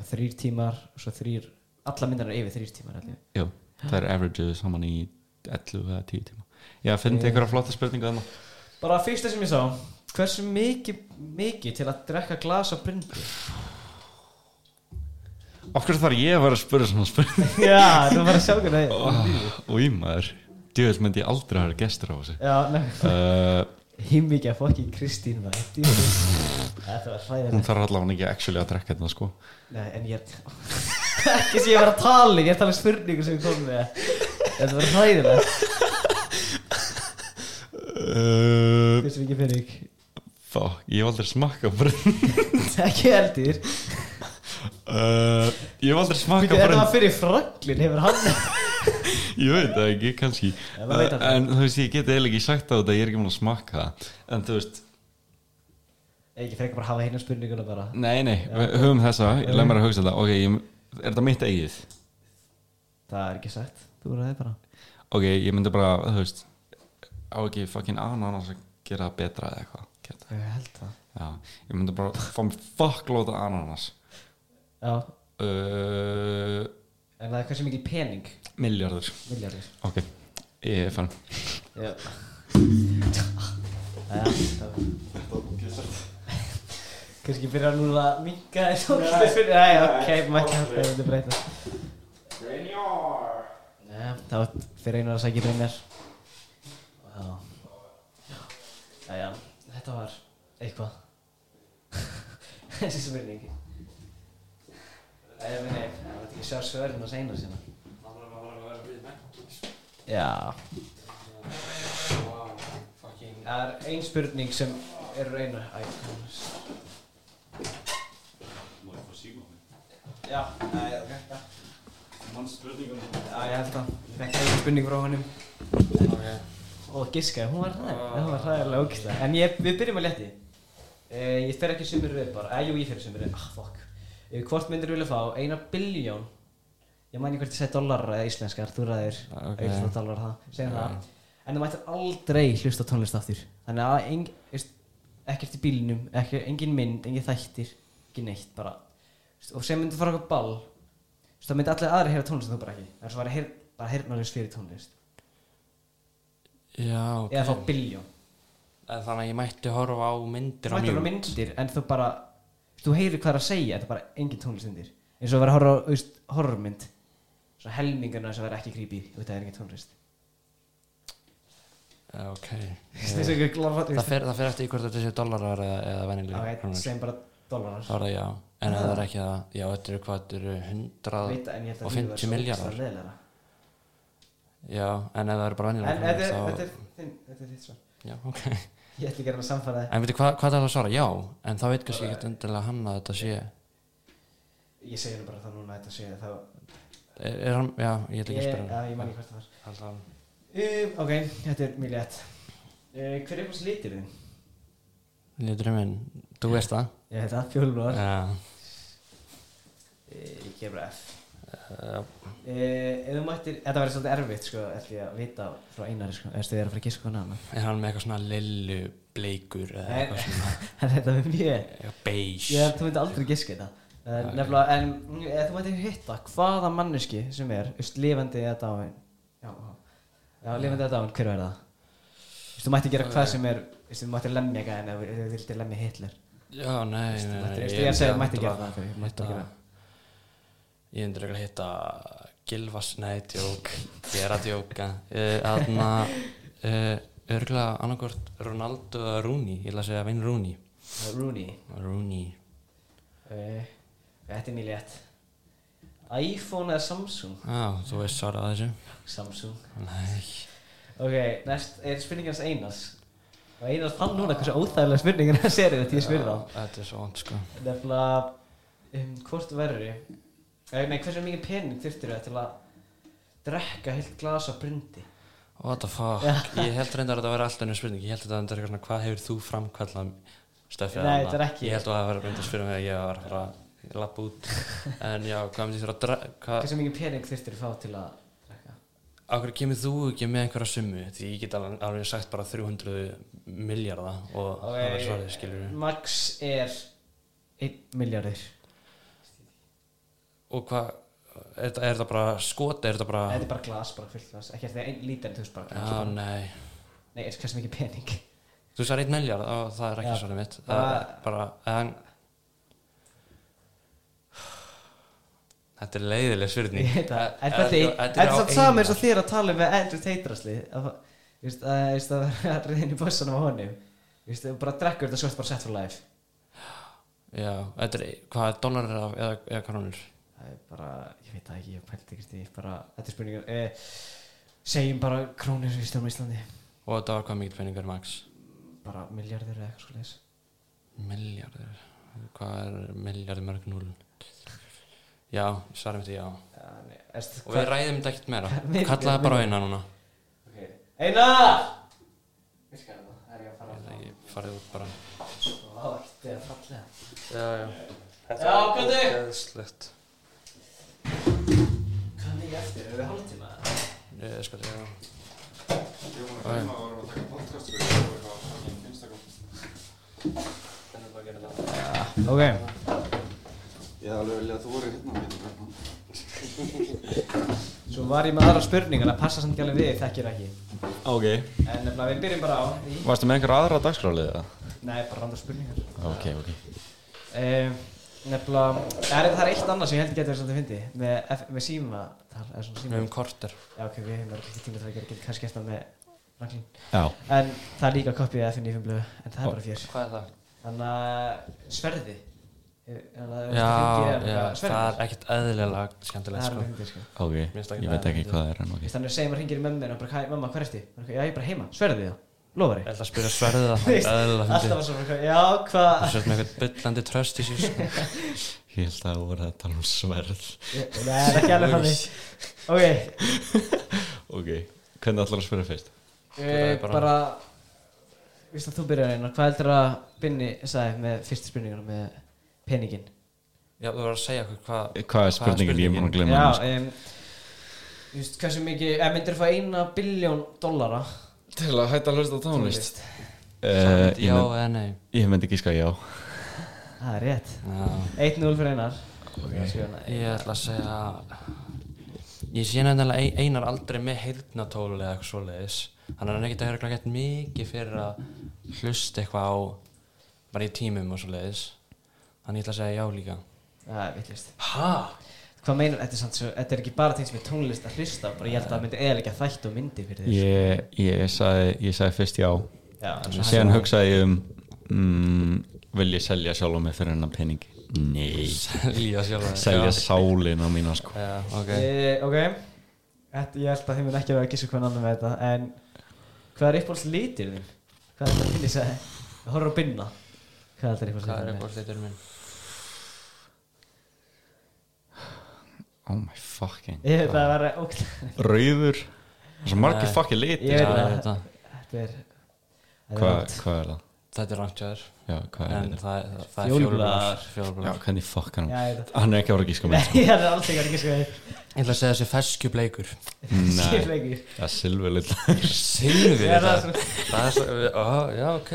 Og þrír tímar og svo þrír alla myndar eru yfir þrír tímar allir.
Jú, þær
Ah.
averageðu saman í 11 eða 10 tíma Já, finnst einhverja flotta spurningu þarna
bara fyrsta sem ég sá hversu mikið mikið til að drekka glas af brindi
Af hverju þarf ég að vera að spura svona spurningu
já, þú bara sjá hvernig
Oh, og í maður djöðl myndi ég aldrei hafa gestur á þessu
já, nefnum
uh,
himmikið að fokkin Kristín var þetta var
hún
hræðilegt
þarf allavega ekki actually að drekka þetta sko
Nei, en ég er ekki sem ég var að tala ég er að tala um spurningu sem ég kom með þetta var hræðilegt
uh,
hversu mikið pening
fá, ég hef aldrei smakka brunn
ekki heldur
uh, ég hef aldrei
Býtu,
smakka
er
brunn
það fyrir Franklin hefur hann
ég veit það ekki, kannski
En maður veit
uh,
aldrei.
en þú veist, ég geti eiginlega ekki sagt á þetta ég er ekki múin að smakka það en þú veist,
ekki frekar bara hafa hérna spurninguna bara
nei, nei, við höfum þessa ég lef mér að hugsa þetta, ok, ég, er þetta mitt eigið
það er ekki sagt þú ræði bara
ok, ég myndi bara, þú veist á ekki fucking ananas að gera það betra eða eitthvað Gerðu það.
Ég held það
Já, ég myndi bara fá mér fucklóta ananas
Já,
uh,
en það er hversu mikil pening
Miljardur
Miljardir
Ok, ég er fann
Já Það er Kanski byrja núna að minka þessu ógeðslega fyrir Æ, ok, mætti hægt að þetta breyta Nei, þá fyrir einar að sækja reynar Já Jæja, þetta var eitthvað Þessi spurning Æ, ég meni, það var ekki sjá svörin að segna sína Já Það er ein spurning sem er reyna Æ, kannast Já, nei, ok, já Já, ég held að Fekk einu spurning frá honum Og giskaði, hún var hræðilega Hún var hræðilega ógislega En ég, við byrjum að leti eh, Ég fer ekki sumir við bara Eh, jú, ég fer sumir við Ah, fuck eh, Hvort myndir vilja fá eina biljón Ég mæni hvert ég segi dólarar eða íslenskar Þú ræðir
Ah, ok.
okay. auðvitað dólarar það Segjum
Já.
það En þú mættir aldrei hlusta á tónlist aftur Þannig að eng, veist, ekkert í bílinum ekki, Engin mynd, engin þættir Ekki neitt bara Veist, Og sem myndir fara okkur ball veist, Það myndi allir aðri heyra tónlist en þú bara ekki Það er svo bara, heyr, bara heyrnarlaus fyrir tónlist
Já, ok
Eða fá biljón
Eða Þannig að ég mætti horfa á myndir
Þú mættir á myndir en þú bara Þú heyrir hvað það er að segja Þetta er bara engin tónlist undir Eins og að vera horror, þú veist, horrormynd Svo helmingurna sem vera ekki creepy Þú veit að það er engin tónlist
Já, Eh, Ok
Þessi er ekki gláð
Það fer, það fer eftir í hvort þetta séu dollarar eða, eða venjulegir
Ok,
krónur.
segjum bara dólarar
Það er það já En ef það er ekki það Já, þetta eru hvað, þetta eru hundrað
Veit það, en ég held að
og
lífið væri
50
svo
milljarðar.
ógeðslega leiðinlegra.
Já, en ef það eru bara
En
venjulegir
þetta er- þetta
krónur,
er þinn- þetta er þitt svar
Já, ok
Ég ætla ekki að reyna að samfara það
En veitu hvað, hvað það er að svara? Já, en þá veit kannski ekkert undirlega hann að þetta sé
Ég segi henni bara það núna Þetta sé þá
Er, er hann, já, ég ætla ekki að
Ég,
spyrja
ja,
hann.
ég man ekki hvert það var
Held að hann
um, Ok, þetta er mjög létt uh, Hver er uppáhalds litir þinn?
Líturinn minn, þú veist það?
Ég heit það, fjólblóðar uh,
Já,
Eh, Ég gef bara F uh,
já,
Ef þú mættir Þetta verður svolítið erfitt sko Ætla ég að vita frá einari sko Erstu þið er að fara að gíska hana hana
Er hann með eitthvað svona lillu bleikur eða
Nei.
Eh, eitthvað svona
Þetta er mjög
eitthvað beige
Ég, þú myndi aldrei gíska þetta Uh,
Ok.
nefnilega, en mm, ef þú mættir hitta hvaða manneski sem er, veist, lifandi eða dáin já, já, já, lifandi eða dáin, hver er það? Veist, þú mættir gera hvað sem er, veist, þú mættir lemja gæðin eða þú vildir lemja Hitler
Já, nei, nei, nei
Mættir, veist, ég segi, mættir gera það fyrir, mættir
hitta
gera
Ég endur eitthvað að hitta Gilvas, nei, djók Ég er að djóka Eh, Þannig að örgulega annarkvort Ronaldo eða Rooney Ég ætla að segja Wayne Rooney
það Eh, Rooney,
Rooney
uh, þetta er mjög létt iPhone eða Samsung?
Já, þú veist svarað að þessu
Samsung
Nei
ok, næst er spurningin hans Einars og Einars fann núna hversu óþægilega spurningin hans er þetta ég spurði á
Þetta er svo ond, sko
Nefnilega, um, hvort verri eh, Nei, hversu mikið pening þurftir það til að drekka heilt glas af brundi
What the fuck Ég held reyndar að þetta væri alltaf einu spurning Ég held að þetta er eitthvað svona Hvað hefur þú framkvæmlað Steffi
Nei,
Anna?
þetta er ekki.
Ég held að það var að reynda að spyrja mig að Ég var að fara að lappa út En já, hvað myndi ég þurfa að dra hvað,
Hversu mikið pening þurftir að fá til að drekka
Á hverju kemur þú ekki með einhverja summu Því ég get alveg, alveg sagt bara 300 miljardar Og
Ok,
það var svarið skilur
Max er 1 miljardur
Og hvað Er, þetta- er þetta bara skot Er þetta bara
Þetta er bara glas, bara fullt glas Ekki eftir einn lítar en þú veist bara
Já,
glas bara-
nei
Ah, Nei, er hversu mikið pening
Þú sagði 1 miljard og það er ekki
Já.
svarið mitt Það
Það-
er bara en... Þetta er leiðileg spurning
Ég veit það En Eh,
Þetta-
þetta er-
þetta
þetta er
á
samt saman
eina.
eins og þér að tala um með Andrew Teitrasli Að þú veist, að þú veist, að vera að reyna í bossanum á honum Þú veist, þú bara drekkur þetta svart bara set for life
Já, þetta er, hvað er dólarir af- eða, eða krónur?
það er bara, ég veit það ekki, ég pældi ekkert í því, bara, þetta er spurningar eh, segjum bara krónir í stjórnum Íslandi
Og þetta var hvað mikið peningur max?
bara miljardir eða eitthvað svoleiðis
Miljardir Hvað er miljardir mörg núl? Já, svarið mitt er já Og
ja, nei, erst,
við ræðum þetta ekkert meira
Milljarð,
Kallaði bara á
milljarð.
eina núna
okay. Einar! Virkar þetta? Það er ég að fara
Ég veit ekki, Farið út bara
Vá, þetta er fallega
Já, já
Já, komdu!
Gæðslegt
Hvað er mikið eftir? Erum við hálftíma?
Ég sko,
Ég
já
var að gleyma að við vorum að taka podcast við og eitthvað fucking
Ok,
Ég hef alveg viljað að þú voru hérna minn.
svo var ég með aðra spurningar að passa samt ekki alveg við þekkir ekki
Ok
En nefnilega við byrjum bara á því
Varstu með einhver aðra dagskrálið eða?
Nei, bara randar spurningar
Ok, ok
um, Nefnilega, það er, það er eitt annað sem ég held getur svolítið fyndi með, F- með síma, það er svona
Við
síma
höfum korter
Já, ok, við hefum örugglega ekki tíma til að gera, getur kannski gert það með ranglín
Já
En það er líka kopið af FNF blöðu, en það er bara fjör
Hvað er það?
Þannig að eh, sverði
Já, já það er
sverði
ekkert eðlilega skemmtilegt
Það er
sko
alveg fyndið sko
Ok,
Mér finnst ekki
ég
það
veit ekki
fyndið.
hvað það er en ok
Þannig að segja maður hringir í mömmu og bara, hæ, mamma, hver ertu? Bara, Já, ég er bara heima, sverðið það, lofari
Ég ætla að spyrja sverðið það
Þú veist,
eðlilega
Alltaf
fyndið
var svo, bara, já, hvað
Þú sért með eitthvað byllandi tröst í sér sko
Ég held að það voru að tala um sverð
Ég- Nei, það er ekki alveg þannig Ok,
Ok, hvernig ætlar að spyrja fyrst?
eh,
bara-
bara Vist að þú byrjar einar, hvað heldur að Binni sagði með fyrstu spurningar með peningin?
Já, þú var að segja okkur hvað
Hvað er spurningin? Ég er búin að glemma
Já,
hann
em, þú veist, hversu mikið, ef myndir fá eina biljón dollara
Til að hætta að hlusta á tónlist
tónlist,
Eh,
Já
Ég mynd-
eða nei
ég myndi gíska já
það er rétt
Já
1-0 fyrir einar
Ég ætla að segja Ég sé nefnilega einar aldrei með heyrnatól eða eitthvað svoleiðis Þannig að hann er ekkert að höra gett mikið fyrir að hlusta eitthvað á bara í tímum og svoleiðis Þannig ég ætla að segja já líka
Það er vittlist
Hæ?
Hvað meinar, þetta er, samt, svo- þetta er ekki bara þeim sem er tónlist að hlusta bara ég held að það myndi eðalega þætt og myndi fyrir þér
Ég, ég, sagði, ég sagði fyrst já
Já, en svo
Síðan hugsaði ég um mm, Vil ég selja sjálf mig fyrir hennar pening? Nei
Líða sjálf
Selja sálin á mína sko
Já, ok
Eh, Ok, þetta, ég held að þið mun ekki að vera að gísa hvað annar með þetta En hvað er uppáhalds litir þinn? Hvað er þetta að finna þess að horfa að binna? Hvað er þetta uppáhalds
Hvað er
litir þinn?
uppáhalds litur minn?
Oh my fucking
Ég veit að það var ógt
Rauður Það er svo margir
Nei.
fucking liti
Ég veit
Já,
það.
þetta.
Þetta er þetta er
Hvað
rangt.
hva er það?
Þetta er rangt hjá þér
Já, hvað er það?
En það, það, það er
Fjólubláar.
fjólublar
Já,
Fjólublar
hvernig fuck hann
Já, ég veit
Hann er ekki að voru að gíska
það
mig
Nei, það er alls ekki að gísa hvað
Ég ætla að segja þessi fesku bleikur
þið
Nei.
Sér leikir
Það er silfurlit
Silfið
Já, það er
þetta Það er svo, ó, já, ok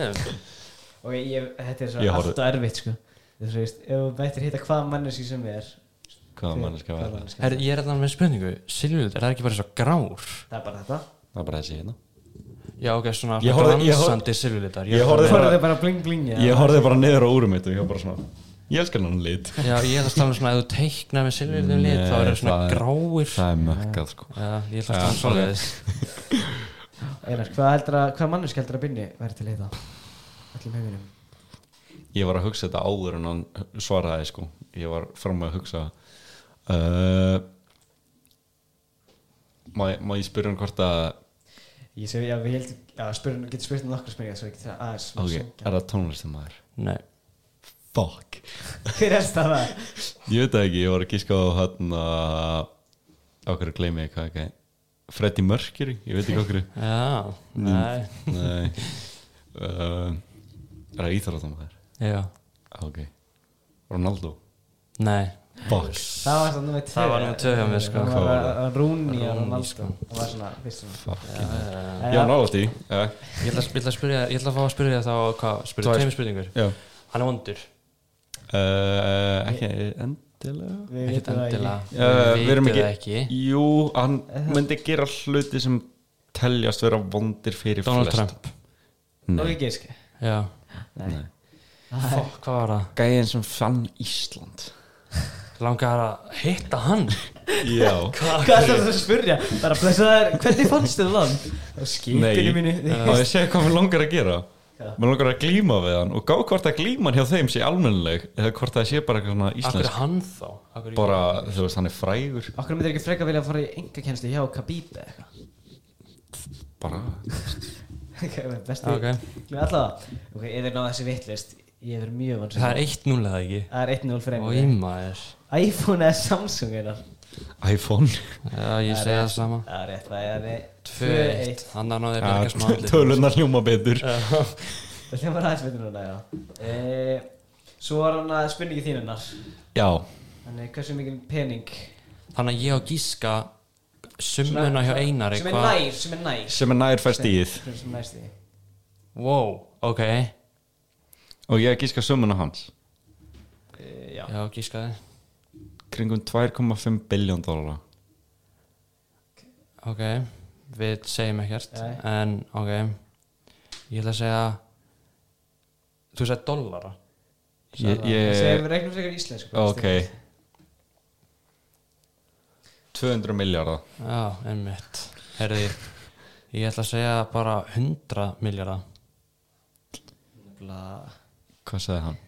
Ok, ég, þetta er
Ég
svo
horfði-
alltaf erfitt sko Þú veist, ef þú mættir hitta hvaða manneski sem er
Hvaða mannska var það?
það?
Her, Ég er alltaf með spurningu Silfið, er það ekki bara svo grár?
Það er bara þetta
Það er bara þessi hérna
Já, ok, svona
Ég horfði- ég horfði-
glansandi silfið litar
Ég horfði-
Þú
bara-
horfðu bara bling bling já.
Ég horfði bara niður á úrum mitt og ég var bara svona Ég elskar hann lit
Já, ég ætla að tala um svona Ef þú teiknar með silfið litum lit
Nei,
Þá er það svona
það er-
gráir
Það er mökkað sko
Já, ég ætla að tala um svoleiðis
Einar, hvað heldur að, hvað manneski heldur að binni væri til að hitta? Allir með minnum
Ég var að hugsa þetta áður en hann svaraði sko Ég var fram að hugsa uh, má, ég- má ég spyrja hann hvort að
Ég segi, já, við heldum, já, spurning, getur spurt um nokkra spurningar svo ég getur aðeins
Ok, er það tónlistamæður?
Nei,
Fuck
Hver er það það?
Ég veit það ekki, ég var að gíska á hann að Okkur að gleymi ég hvað ekki Freddie Mercury, ég veit ekki okkur
já,
Mm.
nei
Nei uh, Er það íþróttamæður?
Já,
Ok Ronaldo
nei
Fuck
Það var svona með tvö
Það var númer tvö hjá mér, sko.
Það
Hvað var það?
var Rúni og
Rooney,
Ronaldo
sko.
Það var svona, fyrst svona
Fuck
Já, já, já
Ég var nálægt í Já,
Ég ætla, að- ég ætla að spyrja, ég ætla að fá að spyrja þá hvað, spyrja
Tvær.
tveimur spurningur
já
Hann er vondur,
Uh, ekki endilega
Við
ekkert
vitum það ekki
endilega
Já, við erum
vitum
ekki-
það ekki
Jú, hann myndi gera hluti sem teljast vera vondir fyrir
Donald
flest
Trump
Og
Nei,
ekki gísk
Já,
Nei
nei.
fokk, hvað var það?
Gæðin sem fann Ísland
Langar að hitta hann
Já
Hvað er það að spyrja? Bara blessa þær, hvernig fannst þið land? Á skipinu mínu
Á ég segja hvað mér langar að gera
Já.
Mér langar að glíma við hann og gá hvort að glíman hjá þeim sé almennileg eða hvort það sé bara eitthvað svona
Akkur
íslensk
hann þá? Akkur ekki?
bara, þú veist, hann er frægur
Okkur myndir ekki freka vilja að fara í enga kennslu hjá Khabib eða
bara,
eitthvað Besti
Ok.
Gleði alla það Ok, ef þið náðu þessi vittlist Ég verð mjög vann
Það er eitt núlega ekki
Það er 1-0 fyrir
Og
einu
ímaður
iPhone eða Samsung einar
iPhone
Já, ég segja það sama
Það er rétt, það er 2-1
2-1 Þannig að náði að berga smá andlit
Tölunar hljóma betur
Það hljómar aðeins betur núna, já e, Svo var hann að spurningi þínunar
Já,
Þannig, hversu mikið pening
Þannig að ég á gíska Summuna hjá Einari
Sem er
hvað-
nær, sem er nær
sem er nær fæst íð
Sem er nær stíð
Wow, ok
og ég gíska sömuna hans
Eh, Já,
Já, gískaði
kringum 2,5 biljón dólar
Ok, við segjum ekkert
Nei.
En ok Ég ætla að segja Þú sagði dollara
ég,
Segir
ég,
við regnum frekar íslensku bara,
ok 200 miljardar
Já, einmitt Herði, ég ætla að segja bara 100 miljardar
Nefnilega,
hvað sagði hann?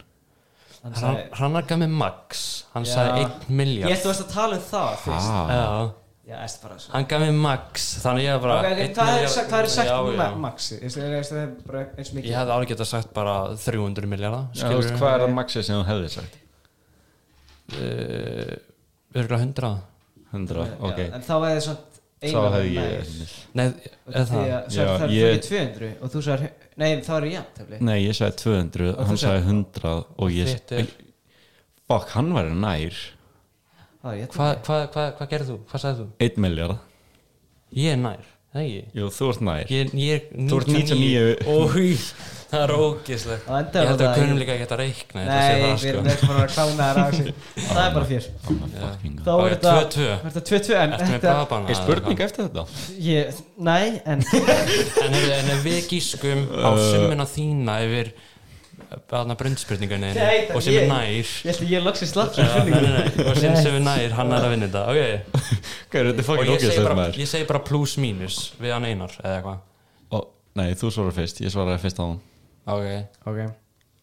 Hann
Hann,
sagði
hann er gamið Max Hann
Já.
sagði 1
Ég
miljard
ætti að tala um það fyrst
Ah,
Já,
Já, ætti bara svo
hann gamið Max Þannig ég er bara
Ok, ok,
1
hvað er
milljarð-
sagt- hvað er sagt
Já,
um
já.
ma- Maxi? Ég veist, ég veist, það er bara eins
Ég
mikið
hefði alveg getað sagt bara 300 miljardar
Já, þú veist, hvað er það maxið sem þú hefði sagt?
Eh, Örgulega 100
100, ok
Já, En þá væri það svona
Þá hefði ég
Nei, eða það
Svo
Já,
er það
ég-
fyrir 200 og þú sagði Nei, þá er ég jafn tefli
Nei, ég sagði 200,
Og þú
hann
sagði-
sagði 100 og ég
Þitt er-
Fuck, hann var nær
Það er ég
Hvað hva, hva, hva gerðu þú? Hvað sagði þú?
1 miljard
Ég er nær, það ekki
Jú, þú ert nær
Ég, ég er
Þú ert 99.
Ói, það er ógislegt
Á endanum
Ég held að
var
við
það-
kunum líka ekki að reikna ég ætla að
Nei,
segja
við erum
það, sko.
ekki bara að klána það rási Það er bara fyrr
I'm a fucking
Þá
god.
er
Ok,
þetta
2-2.
er Þetta 2-2 en
Ertu með
þetta
babana?
Er spurning eftir þetta?
ég- Nei, en
En ef, en ef við gískum á
Uh.
summuna þína yfir aðna brundspurningunni
Nei, það-
og sem er
ég-
nær
Ég ætli ég loksist slapp
Já,
sem
nei, nei,
spurningu
nei, og sem sem er nær, hann er að vinna þetta ok,
Hvað er þetta
og
fucking
ég segi
ógjöðslega
bara,
maður?
ég segi bara plus mínus við hann einar eða eitthvað
Ó, Nei, þú svarar fyrst, ég svaraði fyrst á hann
ok,
Ok,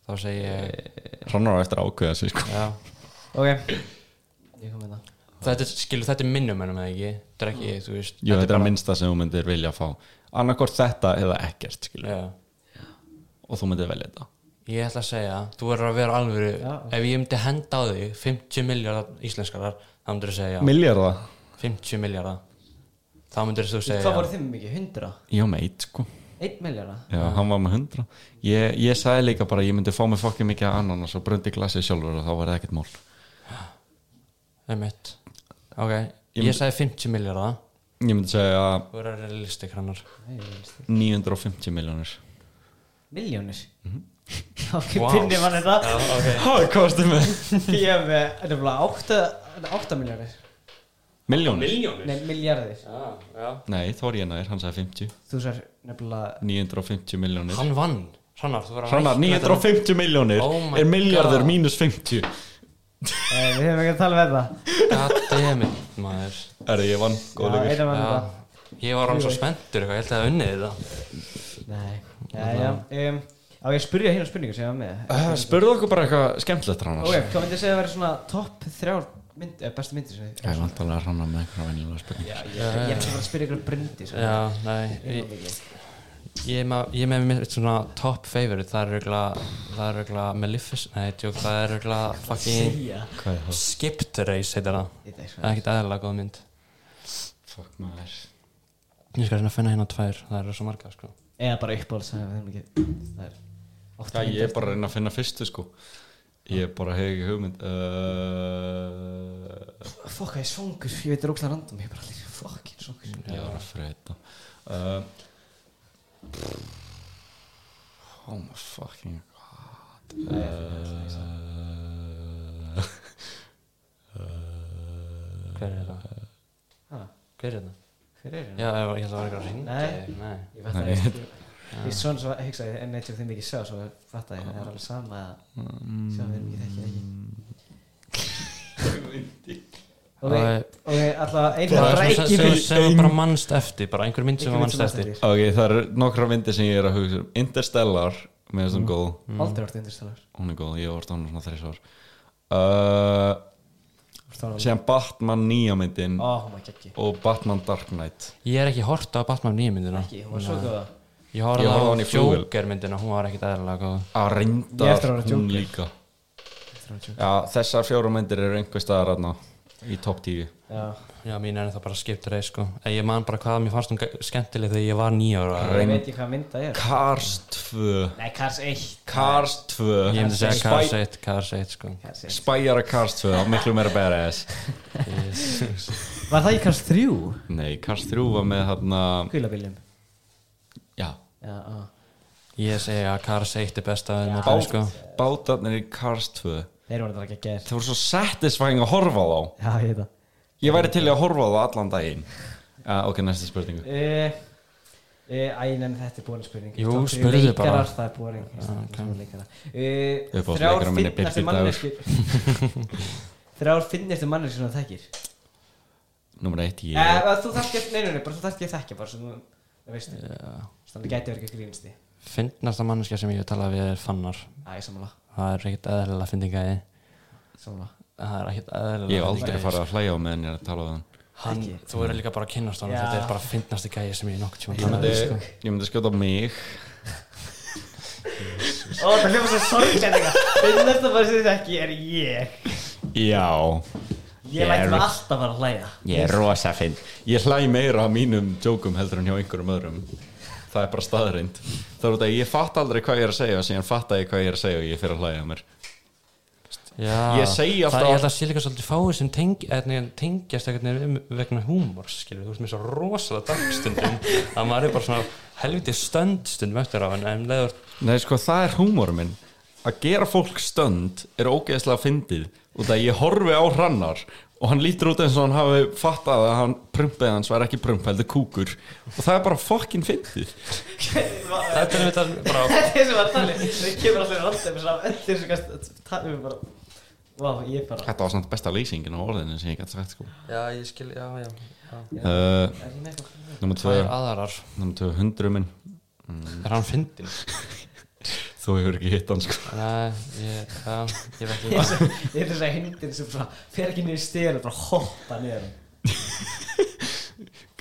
þá segi ég
Hann var á eftir að ákveða sig sko
já,
ok Ég kom með það
þetta, er- skilur þetta er minnum ennum eða ekki þetta er ekki, þú veist
Jú, þetta er að
bara-
minnsta sem þú myndir vilja fá Annarkort þetta eða ekkert, skilur
já
Og þú myndir velja þetta
Ég ætla að segja, þú verður að vera alvöru
Já.
Ef ég myndi henda á þig 50 miljardar íslenskarar þá myndir þú segja já,
Miljarda?
50 miljardar þá myndir þú segja
Hvað voru
já.
þið með mikið? 100?
Já, með eitt sko
1 miljara?
Já, hann var með 100 ég, ég sagði líka bara að ég myndi fá mig fokkið mikið ananas og brundi glasið sjálfur og þá var það ekkert mál
Einmitt. Ok,
Ég
ég,
myndi-
sagði 50 miljardar
Ég myndi segja
Þú verður að realistik hannar
950 miljónir
Miljónir? Ok,
Wow.
pinni mann þetta
okay.
Hvað kostu með?
Ég hef eh, með, þetta er bara 8 miljónir
Miljónir?
Nei, miljardir
Já, já.
Nei, þá er ég nær, hann sagði 50
Þú sær nefnilega
950 miljónir
Hann vann, hannar, þú verður að
Hrannar,
reikna
950 miljónir
Oh my
er miljardur
God.
mínus 50
eh, Við hefum ekki að tala með það
þetta. God damn it, maður
Erði, ég vann, góð
Já,
leikur
eina mann
já.
þetta
Ég var hann svo spenntur eitthvað, ég held að það unnið þetta
Nei, já, já um, Á ég að spyrja hérna spurningu sem ég var með
uh, Spurðu okkur bara eitthvað skemmtilegt Hrannar
Ok, hvað myndi að segja að vera svona topp þrjár mynd, eh, bestu myndir sem
Það er vantalega Hrannar með eitthvað venjulega spurning
Já, ég, ég ætla bara að spyrja ykkur sko. brundi sem
Já, nei, ég, Ég er með- ég er með mitt svona top favorite það er regla það er regla Maleficent nei, tjók, það er regla fucking
Segja
Hvað er það?
Skipped Race heitir það
Ég veit sko.
það er ekkert aðeinslega góð mynd
Fuck maður
ég skal reyna að finna hérna tvær það eru svo margar sko
Eða bara uppáhalds sem við hefum ekki Það er
Já,
átta
ég
myndir
er bara að reyna að finna fyrstu sko Ég bara hef ekki hugmynd uh,
Fokk, ég er svongur, ég veit er ógstlega random Ég er bara allir fokkin svongur
Ég var að freyta uh, Oh my fucking god uh,
hver er
uh,
það?
Ha?
hver er það?
Hver er
já, ég ég held að það var eitthvað að ringa
Nei.
þig. nei
Ég fatt að ég Ég svona svo hugsaði en eitt sem þið mikið sjá svo fatt að ég það er alveg sama að sjá við erum ekki þekkið ekki
Æ.
Ok, ok, alltaf einn
Mm. það
bara
er
reykjum
svona sem- sem þú bara mannst eftir bara einhver mynd sem þú mannst eftir
Aldrei
Ok, það eru nokkra myndir sem ég er að hugsa um Interstellar, með þessum góð
Mm.
orðið undirstæðar
Hún er góð, ég hef orðið hann svona þrjusvar uh, Síðan Batman nýja myndin
Ó, hún var ekki
og Batman Dark Knight
ég er ekki hort á Batman nýju myndina
Ekki, hún var svo
Nei.
góða
ég
Ég
horfði á
horfði á hana í flugvél.
Joker myndina hún var ekkert aðeinslega góð
að
Ég
reynda
eftir að vera
Ah, hún
Joker.
líka Já, þessar fjóra myndir eru einhver staðar aðna í topp tíu
Já,
Já, mín er það bara skipt reis sko En Ég man bara hvað mér fannst hún ge- skemmtileg þegar ég var nýjára
Reynd-
ég veit ekki hvað mynda er
Cars 2
Nei, Cars 1
Cars 2
Ég myndi segja
Spy-
Cars 1, Cars 1 sko
Cars 1.
Spæjar að Cars 2, þá miklu meira badass
Var það í Cars 3?
Nei, Cars 3 var með hérna
Kvílabiljum
Já,
Já, á
Ég segi að Cars 1 er besta ja.
Bá,
mótinu, sko.
Bátarnir í Cars 2
Þeir voru þetta ekki að gera
Það voru svo satisfying að horfa á þá
Já, ég veit það
Ég væri til í að horfa á það allan daginn uh, Ok, næsta spurningu
Eh, eh, Æ, nefnir þetta er bóring spurning
Jú,
Top þrjú
spurðu
leikarar,
bara. Ah,
Það er bóring
Uppáhaldsleikarar
Eh, Þrjár
minn er Birgir
finnastu
Dagur.
manneskir Þrjár finnastu manneskir sem þú þekkir
Númer 1 ég
Eh, Þú þarft ekki, nei, nei, nei, bara þú þarft ekki að þekkja bara sem þú, það veist Þannig gæti verið ekki grínst í
Fyndnasta manneskja sem ég hef talað við er Fannar.
Æ, sammála,
Það er ekkert eðlilega fyndingæði.
sammála
Það er ekkert eðlilega
Ég hef aldrei farið að hlæja á meðan ég er að tala á þann
Hann,
Ekki.
þú verður líka bara að kynnast honum
Já.
þetta er bara fyndnasti gæði sem ég nokkuð tíma
Ég myndi,
sko.
ég myndi skjóta á mig
Ó, það hljóma svo sorglega Finnast að bara sem þetta ekki er ég
Já
Ég læt mig alltaf bara hlæja
Ég er rosa finn Ég hlæ meira á mínum jókum heldur en hjá einhverjum öðrum Það er bara staðreind Það er út að ég fatt aldrei hvað ég er að segja síðan fatt ég hvað ég er að segja og ég fyrir að hlæja að mér
Já,
Ég segi alltaf-
það, ég held að sé líka svolítið fáið sem teng, eðnig, tengjast einhvern veginn við- vegna húmors skilur, þú veist mér svo rosalega dagstundum að maður er bara svona helviti stönd stundum eftir á hann en leður
Nei sko það er húmor minn Að gera fólk stönd er ógeðslega fyndið út að ég horfi á hrannar og hann lítur út eins og hann hafi fattað að hann prumpið hans var ekki prump heldur kúkur og það er bara fokkin fyndið
þetta er þetta bara
Þetta er sem var að tala Það kemur alltaf alltaf með svona Þetta er sem kannski Það er bara Vá, ég bara
Þetta var samt besta lýsingin á orðinu sem ég gæti sagt sko
Já, ég skil, já, já, já.
uh,
Er ég með eitthvað?
Númer
Það er
2
aðarar,
Númer 2 hundru minn
er hann fyndin?
Þú hefur ekki hitt hann sko
Nei, ég, já, ég veit
Ég er
ekki
svo- ég er þess að hindin sem svona Fer ekki niður stíðan og bara hoppa niður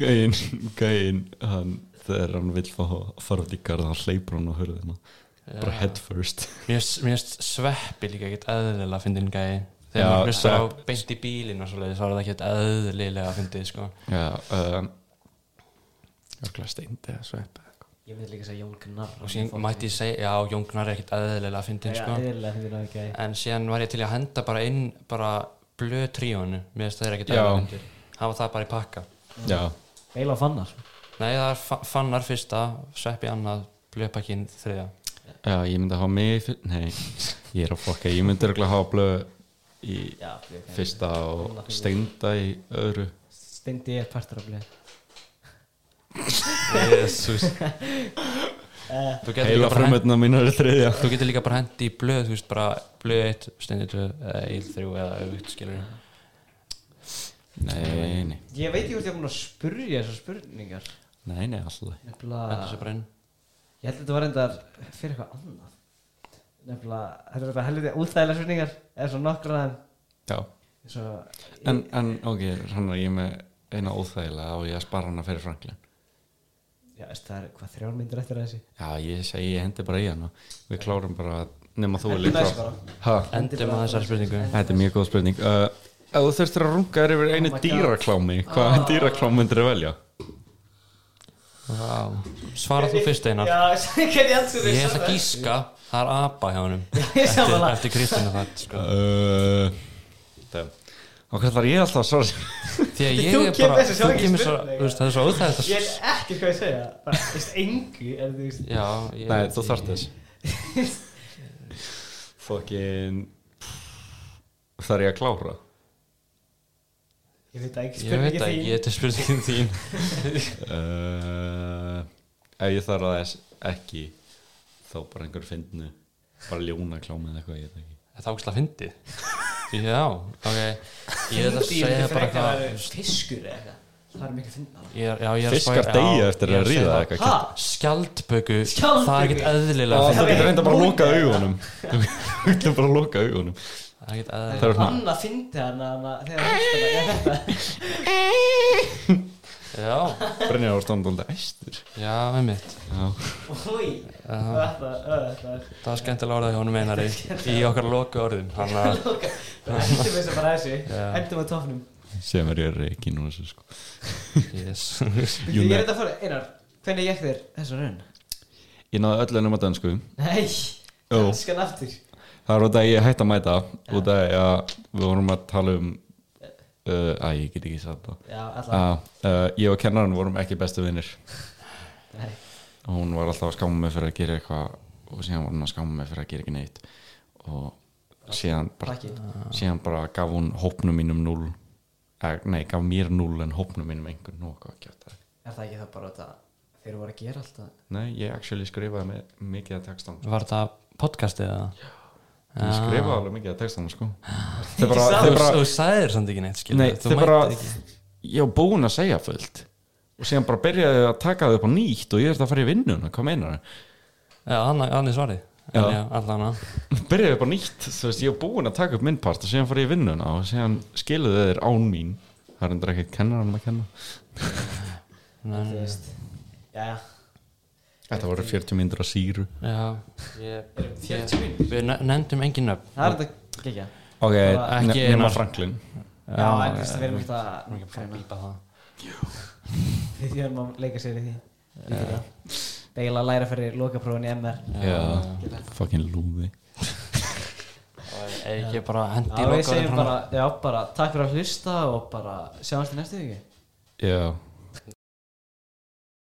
Gæinn, gæinn hann, þegar hann vill fá fara út í garð hann hleypur hann á hörðina bara
Já.
head first
Mér finnst- mér finnst sveppi líka ekkert eðlilega fyndin gæði
Já,
þegar maður hlustar á
Svepp.
beint í bílinn og svoleiðis þá er það ekkert eðlilega fyndið sko
Já, um, örgulega steindi eða svepp eða eitthvað.
Ég myndi líka að segja Jón Gnarr
og síðan mætti ég segja, já, Jón Gnar er ekkert eðlilega fyndin
Já,
sko
eðlilega þetta er náðu gæði
en síðan var ég til að henda bara inn bara blöð tríónu mér finnst það er ekkert
Já.
eðlilega fyndið hafa það bara í pakka
Já,
Eila fannar
nei, það er fa- fannar fyrsta, sveppi annað blöðpakkin þriða
já, ég myndi hafa mig fyr- nei, ég er að fokka ég myndi örgulega hafa blöð í
Já, blöð, já.
fyrsta og steinda í öðru
Steindi er partur af bleið
Jesus,
þú getur
heila
líka bara hend-
frumöndna mín er þriðja
þú getur líka bara hendi í blöð þú veist bara blöð 1, stendur 2 eða eil 3 eða auðvitt skilur
Nei, nei,
Ég veit ekki hvort ég er búin að spurja þessar spurningar
nei, nei, alltaf
henda
Nefnilega
sér bara inn
Ég held að þetta var reyndar fyrir eitthvað annað Nefnilega, þetta er bara helviti útþægilega spurningar eða svo nokkra en
Já,
svo,
en, en ok, hann er ég er með eina óþægilega og ég að spara hana fyrir Franklin
já, veist, það er hvað þrjár myndir eftir að þessi
Já, ég segi, ég hendi bara í hann og við klárum bara, nema þú
Endum
er líka
þessu bara.
Ha,
endum að þessar spurningu
Þetta er mjög góð spurning uh, Ef þú þurftir að runga þér yfir einu
my God.
dýraklámi Hvaða dýraklám myndir þú velja?
Vá. svara þú fyrst einar
Já, hvernig ég alls
ég ætla að gíska það er apa hjá honum
ég
eftir,
sammála.
eftir Kristina það sko.
Uh, og hvað þarf ég alltaf að svara sér?
því að
Þú
ég er
kemur
bara
þessu
þú
sjálf í
kemur svo
spurningu.
þú veist, það er svo óþægt
Ég er ekki hvað ég segja bara, þú veist, engu er þú veist
já ég,
Nei, þú þarft þess Fokkin Þarf ég að klára?
Ég veit það ekki,
ég veit
spurningi
það ekki
þín
þetta er spurningin þín
Uh, ef ég þarf að þess ekki þá bara einhver fyndnu bara ljónaklámi eða eitthvað ég veit það ekki
það er ógslag fyndið já ok ég ætla að
Fyndi, myndi
segja bara
frekar
hvað
vera Fiskur eða eitthvað Það er mikið fyndnar
Ég er- já, ég er að spá-
Fiskar
já,
degja eftir
ég
að
er segja
ríða
það.
eitthvað
Ha?
kjart
skjaldböku
Skjaldböku.
það er ekkert eðlilega
Þú
það
fyndið
er-
getur reynda bara að loka
Múta.
augunum Þú getur bara að loka augunum
það er ekkert
Það
eðlilega
Það er
er
svona-
annað fyndi hann að þegar hann hlustar á- Já, þetta.
já
Brynjar var stóndaldi æstur
já með mitt
Já,
Új,
Ah.
þetta, ö, þetta er
það er skemmtilega orðað hjá honum einari í okkar loku orðum hann að
Ok, Endum þessu bara þessu
Já.
Endum á tofnum
sem er ég reikin og þessu sko
yes.
Ég
Jú,
er
nei.
þetta að fara, Einar, hvernig gekk þér þessu raun?
Ég náði öllu nema dansku
Nei,
Jú.
danskan aftur
Það er út að ég hætti að mæta út að ég að við vorum að tala um uh, Æ, ég get ekki sagt það Ah,
Já, allavega
að uh, ég og kennarinn vorum ekki bestu vinnir
Nei.
og hún var alltaf að skáma mig fyrir að gera eitthvað og síðan var hún að skáma mig fyrir að gera ekki neitt og síðan bara,
Krakki.
síðan bara gaf hún hópnum mínum núl eh, nei, gaf mér núl en hópnum mínum einhvern nú okkur að geta
Er það ekki það bara þetta þeir voru að gera alltaf
nei, ég actually skrifaði með, mikið að textan
Var það podcastið eða? Ah.
ég skrifaði alveg mikið að textan sko. þeir bara,
Þú-
þeir bara
Ah. Þú sæðir samt ekki neitt skilur
nei,
við, þú
þeir bara
mætir ekki
ég var búin að segja fullt og síðan bara byrjaði þau að taka þau upp á nýtt og ég þurfti að fara í vinnuna, hvað meinar þau?
Já, hann hann er svarið
Já.
En Já, allan að
byrjaði upp á nýtt þú veist, ég var búinn að taka upp minn part og síðan fór ég í vinnuna og síðan skiluðu þeir án mín það er endur ekkert kennarann að kenna
Nei,
Þú veist Jæja
þetta voru 40 myndur á síru
Já, ég
Erum 40 mín
Við ne- nefndum engin nöfn
Það er þetta gegja
ok,
Bara
ekki
nema
einar.
Franklin
Já, en þú veist við erum ekki
Erum ekki
að
að fara að
Hérna.
bípa það
Við erum að leika sér í því Við getum það. Deila að læra fyrir lokaprófin í MR
já, fucking lúði
Eða ekki bara hendi
Já,
í
við
lokaorðin
segjum
fram
bara, já, bara takk fyrir að hlusta og bara sjáumst í næstu viku
já